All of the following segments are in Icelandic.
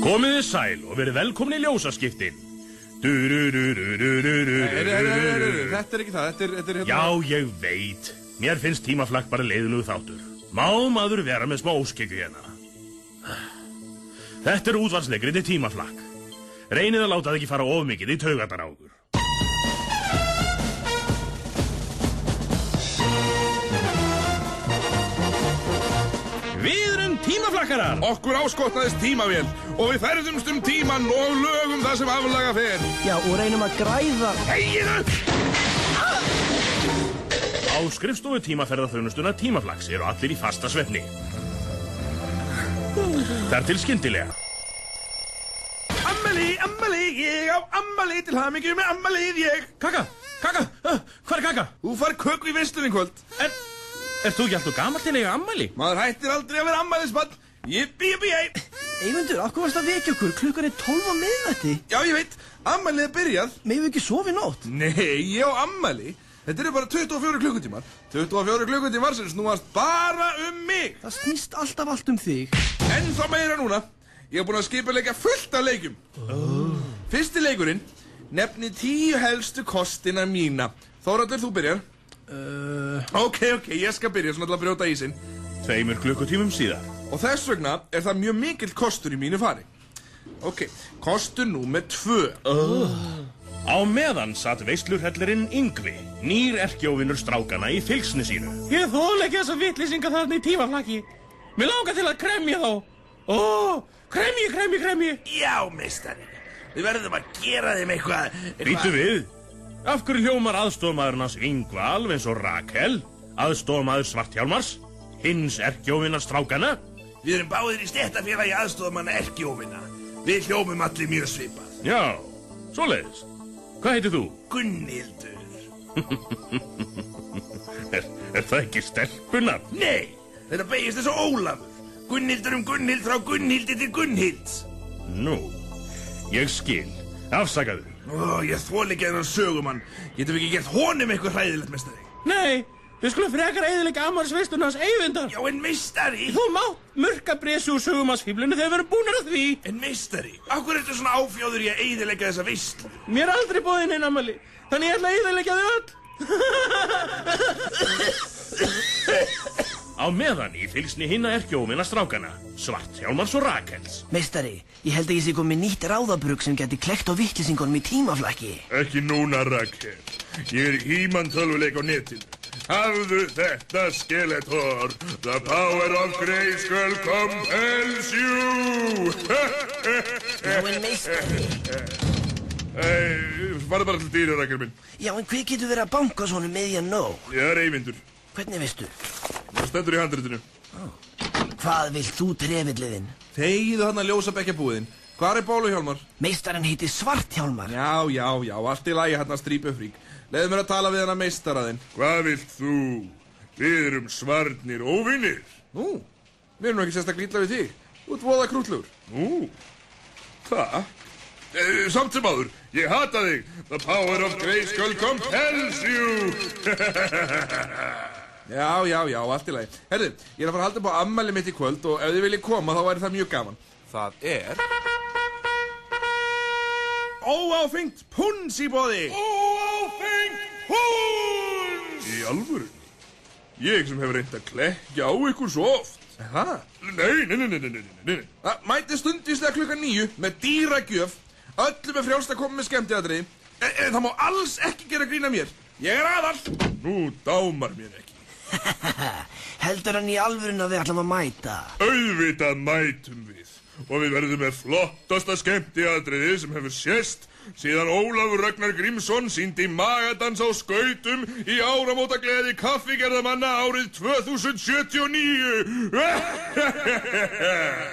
Komiði sæl og verið velkomin í ljósaskiptin Du-ru-ru-ru-ru-ru-ru-ru-ru-ru. Heyrðu, heyrðu, heyrðu, heyrðu, Þetta er ekki það, þetta er, þetta er hérna Já, ég veit Mér finnst tímaflakk bara leiðilegu þáttur Má maður vera með smá óskikju hérna Þetta er útvarsleikrið í tímaflakk Reynið að láta það ekki fara of mikið í taugatar á okkur Við erum tímaflakkarar Okkur áskotnaðist tímavél og við ferðumst um tíman og lögum það sem aflaga fer Já, og reynum að græða Þeginu! Á skrifstofu tímaferðarþjónustuna Tímaflags eru allir í fasta svefni. Þar til skyndilega. Ammali, ammali, ég á ammali til hamingju með ammalið ég Kaka, kaka, uh, hvað er kaka? Þú far köku í visslunni kvöld Er, ert þú ekki alltaf gammal til að eiga ammæli? Maður hættir aldrei að vera ammaliðsmann Jippi, jippi, jæ Eymundur, af hvað varst að vekja okkur? Klukkan er 12 á miðnætti Já, ég veit, ammalið er byrjað Megum við ekki sofa í nótt? Nei, ég á ammali Þetta eru bara 24 klukkutímar 24 klukkutímar sem snúast bara um mig Það snýst alltaf allt um þig En þá meira núna Ég hef búin að skipa leika fullt af leikjum Fyrsti leikurinn Nefni tíu helstu kostina mína Þóratur, þú byrjar uh, Ok, ok, ég skal byrja svona til að brjóta ísinn Tveimur klukkutímum síðar. Og þess vegna er það mjög mikill kostur í mínu fari Ok, kostur númer tvö Á meðan satt veistlurhellerinn Yngvi, nýr erkjóvinur strákana í fylgsni sínu. Ég þól ekki þessa vitlýsinga þarna í tímaflaki. Mér langar til að kremja þá. Ó, kremji, kremji, kremji. Já, mistari, við verðum að gera þeim eitthvað Býtu við. Af hverju hljómar aðstofmaðurinn hans Yngva alveg eins og Rakel, aðstofmaður Svarthjálmars, hins erkjóvinar strákana? Við erum báðir í stéttafélagi aðstofumanna erkjófina Við hljómum allir mjög svipað Já, svoleiðis. Hvað heitir þú? Gunnildur Er, er það ekki stelpunar? Nei, þetta beigist þess að Ólafur Gunnildur um Gunnhild frá Gunnhildi til Gunnhilds Nú, ég skil. Afsakaðu. Ó, Ég þól ekki þennan sögumann Getum við ekki gert honum eitthvað hræðilegt, mistari Nei, við skulum frekar eðilega ammarsveistunni hans eigundar. Já, en mistari, Þú mátt mörka bresu úr sögum hans fíflinu þegar við erum búinir að því. en mistari Akkur ertu svona áfjóður í að eyðilega þessa veislu Mér er aldrei bóðin einn ammali, þannig ég ætla að eðilega þau öll. Á meðan í fylgsni hinna erkjóvina strákana, Svarthjálmars og Rakels. Meistari, ég held að ég sé komið nýtt ráðabrug sem geti klekt á vittlisingunum í tímaflakki Ekki núna, Rakel Ég er í Íman tölvuleik á netinu Hafðu þetta skeletor The power of Grayskull compels you Já, en meistari Ei, Farðu Eh, bara til dýra, Rakel minn Já, en hver getur verið að banka svona meðja nóg? Ég er Eyvindur Hvernig veistu? Það stendur í handritinu Hvað vilt þú trefilliðin? Þegiðu hann að ljósa bekkja búðin Hvar er Bólu Hjálmar? Meistarinn heiti Svarthjálmar Já, já, já, allt í lagi hann að strípu frík Leðu mér að tala við hann að meistara þinn Hvað vilt þú? Við erum svarnir óvinnir. Nú, mér er nú ekki sérstaklega illa við þig Þú ert voða krútlegur Nú, það? E, samt sem áður, ég hata þig. The power of Grayskull compels you. Já, já, já, allt í lagi Herðu, ég er að fara að halda upp á ammæli mitt í kvöld og ef þið viljið koma þá væri það mjög gaman Það er Óáfengt punns í bóði Óáfengt húns! Í alvöru? Ég sem hefur reynd að klekja á ykkur svo oft. Það, Nei, nei, nei, nei, nei, nei, nei, nei. það mæti stundvíslega klukkan níu með dýragjöf Öllum er frjálst að koma með skemmtiðatriði en, en E, það má alls ekki gera grína mér Ég er aðall Nú dámar mér ekki. Heldur hann í alvörun að við ætlum að mæta? Auðvitað mætum við og við verðum með flottasta skemmtiatriði sem hefur sést síðan Ólafur Ragnar Grímsson síndi magadans á skautum í áramóta gleði kaffigerðamanna árið 2079.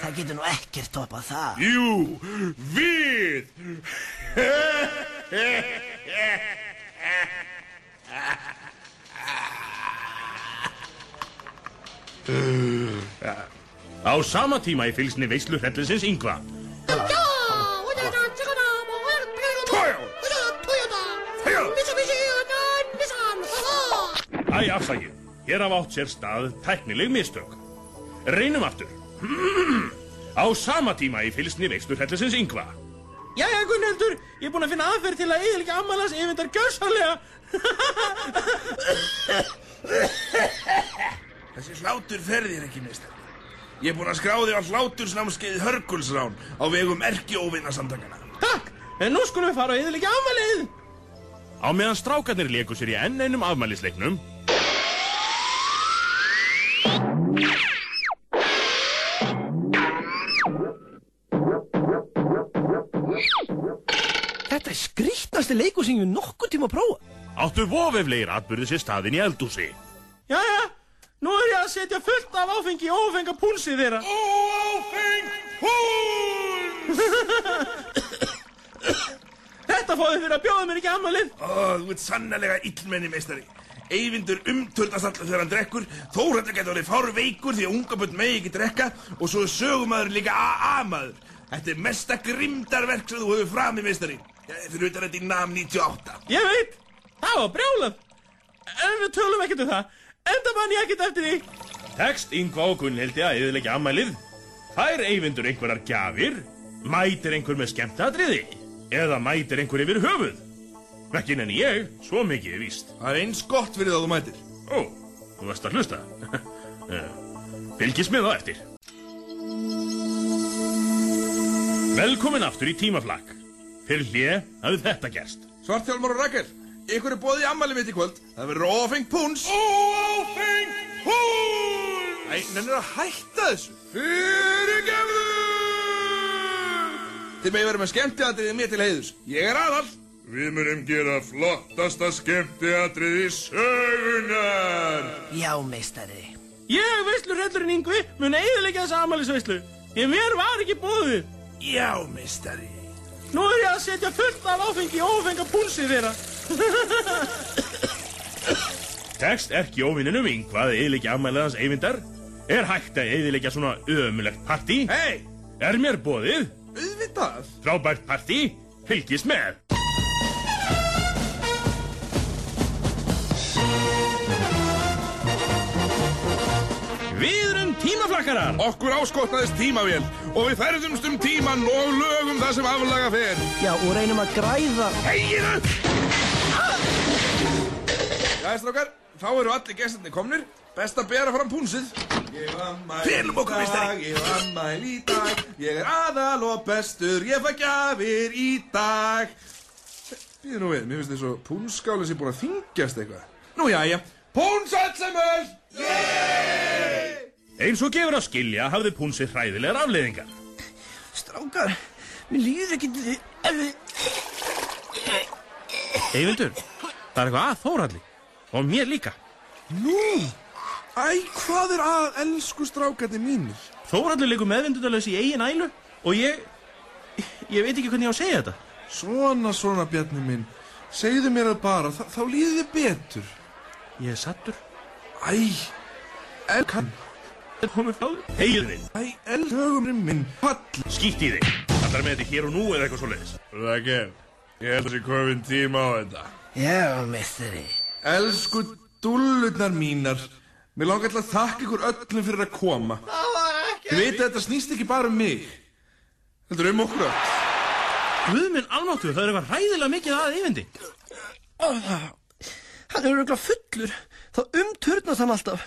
Það getur nú ekkert toppað það Jú, við! Á sama tíma í fylgsni veistlurhellisins Yngva. Æ, afsakið. Hér hafa átt sér stað tæknileg mistök. Reynum aftur. Á sama tíma í fylsni veisturhellisins yngva. Jæja, Gunnhildur, ég er búin að finna aðferð til að eðlika ammælans yfirndar gjörsanlega. Þessi hlátur ferðir ekki, meistar. Ég er búinn að skrá þig á hlátursnámskeið Hörgulsrán á vegum erkióvinasamtakana. Takk, en nú skulum við fara að eðlika ammælið. Á meðan strákarnir leku sér í enn einum afmælisleiknum Þetta er skrýtnasti leikur sem ég nokkuð tíma að prófa. áttu vofeflegir atbyrði sér staðin í eldúsi. Jæja, nú er ég að setja fullt af áfengi í ófenga púlsið þeirra. Þetta fóðu fyrir að bjóða mér ekki ammælið. Ó, þú ert sannlega illmenni, meistari. Eyvindur umturnast alltaf þegar hann drekkur, Þórhaldur getur orðið fár veikur því að ungabönd megi ekki drekka og svo er sögumadur líka AA-maður. Þetta er mesta grimdarverk sem þú hefur framið, meistari. Ja, Fyrir utan þetta í NAM 98. Ég veit, það var brjálað. En við tölum ekkert um það. Enda mann ég ekkert eftir því. Tekst yngva og Gunnhildi að eðilegja afmælið. Fær eyvindur einhverjar gjafir? Mætir einhver með skemmtadriði? Eða mætir einhver yfir höfuð? Ekki en ég, svo mikið er víst. Það er eins gott fyrir það að þú mætir. Ó, þú varst að hlusta. Eh, Fylgist með á eftir. Velkomin aftur í tímaflakk. Fyrir hlje hafði þetta gerst. Svartjálmar og Rakel, ykkur er bóðið í ammæli mitt í kvöld. Það verður ófengt púns. Ófengt púns! Æ, nennir að hætta þessu. Fyrirgefðu! Þið megið verið með skemmtiðatriðið mér til heiðus. Ég er aðall. Við munum gera flottasta skemmtiatrið í sögunar. Já, meistari. Ég, veislu reyndurinn yngvi, mun eðlika þessa ammælisveislu. Ég mér var ekki bóðið. Já, mistari. Nú er ég að setja fullt af áfengi í ófenga púlsið þeirra. Tekst erki óvinninum yngvað eðilegja afmælið hans eyvindar? Er hægt að eðilegja svona ömulegt partí? Hei, Er mér bóðið? auðvitað. Frábært partí? Fylgist með! Við erum tímaflakkarar. Okkur áskotnaðist tímavél og við ferðumst um tíman og lögum það sem aflaga fer. Já, og reynum að græða. Jæja, strákar, þá eru allir gestirni komnir. Best að bera fram púnsið. Félum okkur, mistari. Ég var mæl í dag, ég er aðal og bestur, ég fæ gjafir í dag. Býðu nú við, mér finnst þess að púnskálinn sé búin að þingjast eitthvað. Nú, jæja. Púns öll sem öll! Eins og gefur að skilja hafði púnsi hræðilegar afleiðingar. Strákar, mér líður ekki til því. Eyvindur, það er eitthvað að Þóralli. Og mér líka. Nú, æ, hvað er að elsku strákarnir mínir? Þóralli leikur meðvindundarlaus í eigin ælu og ég... Ég veit ekki hvernig ég á að segja þetta. Svona, svona, Bjarni minn. Segðu mér það bara, þa þá líði þið betur. Ég er sattur. Æ, elkan, Þetta komið frá þér. Hegið þinn, æ, elhögumri minn, fall. skýtt í þig. Það er með þetta hér og nú eða eitthvað svoleiðis. Rakel, ég held að sé komin tíma á þetta. Já, meistari. Elsku dúllurnar mínar, mér langar alltaf að þakka ykkur öllum fyrir að koma. Það var ekki. Þið veit að þetta snýst ekki bara um mig. Heldur um okkur öll. Guð minn almáttu, það er eitthvað hræðilega mikið að eyvindi. Hann er auðvitað fullur. Þá umturnast hann alltaf.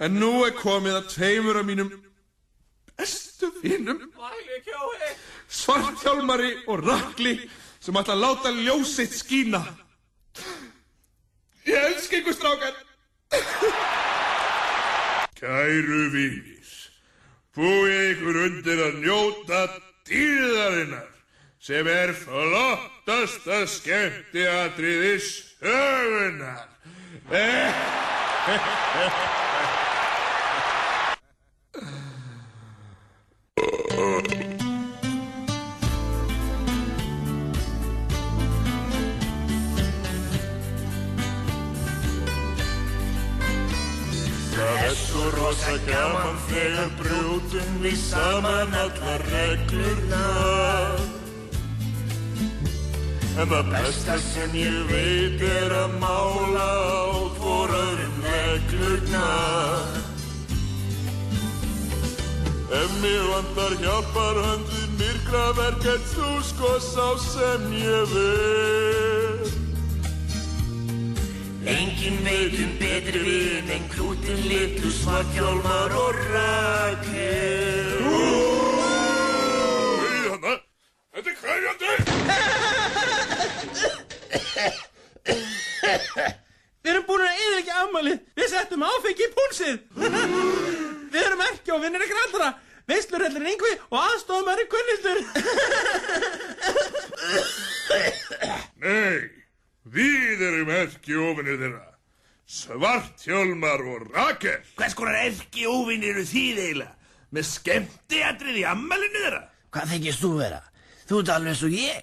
En nú er komið að tveimur af mínum bestu vinnum Svartjálmari og Rakli sem ætla að láta ljósitt skína Ég elska ykkur strákar Kæru vinir, búið ykkur undir að njóta tíðarinnar sem er flottasta skemmtiatriði Eh, sögunar. Það er svo rosa gaman þegar brjótum við saman allar reglurnar En það besta sem ég veit er að mála á hvorarum reglurnar Ef sem mér vantar hjálpar höndið myrkra verkefn þú sko sá sem ég vil Engin veitum betri við en krútin litlu smarkjálmar og rakir Hei þarna, þetta er kræfjandi! Við erum búin að eða ekki afmælið. Við settum áfengi í púlsið. Við erum ekki og vinnir ykkur allra. Veistlurhellin yngvi og aðstofum er kunnildur. Nei, við erum ekki ofinnir þeirra. Svarthjálmar og Rakel. Hvers konar erki óvinni eru þið eiginlega? Með skemmtiatrið í ammalinu þeirra? Hvað þykist þú vera? Þú ert alveg eins og ég.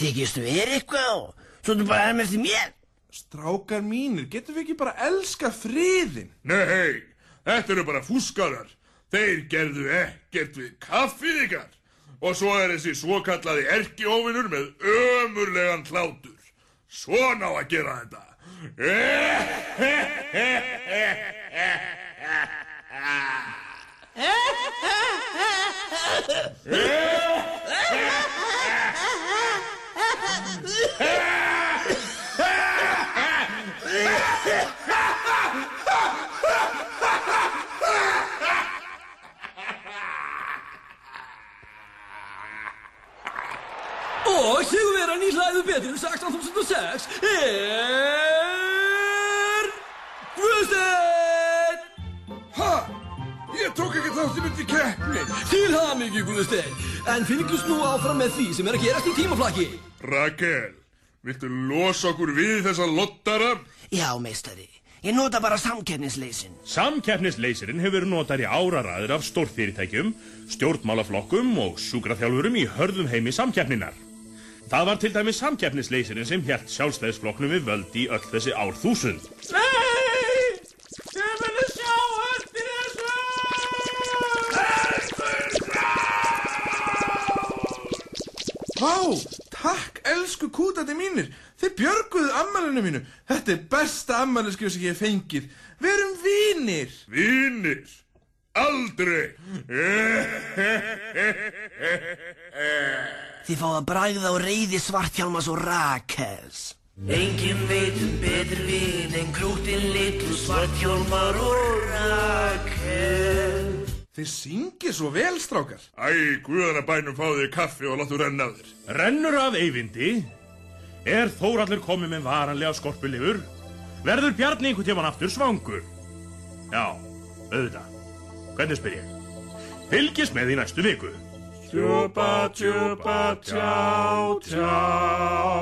Þykist þú er eitthvað og svo þú bara erum eftir mér. Strákar mínir, getum við ekki bara elska friðin? Nei, þetta eru bara fúskarar. Þeir gerðu ekkert við kaffið ykkar. Og svo er þessi svokallaði erkióvinur með ömurlegan hlátur. Svona á að gera þetta. Og sigurveran í hlæðu betri en 16.006 er... Guðstein! Ha! Ég tók ekki þátt í myndi keppni. Til hamingju, Guðstein! En fylgjumst nú áfram með því sem er að gerast í tímaflakki. Rakel, viltu losa okkur við þessa lottara? Já, meistari. Ég nota bara samkennisleysin. Samkeppnisleysirinn hefur verið notar í áraraðir af stórfyrirtækjum, stjórnmálaflokkum og sjúkraþjálfurum í hörðum heimi samkeppninar. Það var til dæmis samkeppnisleysirinn sem hjælt sjálfstæðisflokknum við völdi í öll þessi ár þúsund. Nei! Ég vil sjá eftir þessu! Vá, takk elsku kútandi mínir. Þið björguðu ammalinu mínu. Þetta er besta ammaliskið sem ég hef fengið. Við erum vinir. Vinnir. Aldrei. Þið fá að bræða og reyði svarthjálmas og rakels. Engin veitum betur við en grútin litlu svartjálmar og rakel. Þið syngið svo vel, strákar. Æ, guðana bænum fáðu þér kaffi og láttu renna af þér. Rennur af eyvindi, er Þórallur komið með varanlega skorpulifur, verður Bjarni einhvern tíman aftur svangur. Já, auðvitað. Hvernig spyr ég? Fylgist með í næstu viku. Tjúpa, tjúpa, tjá, tjá.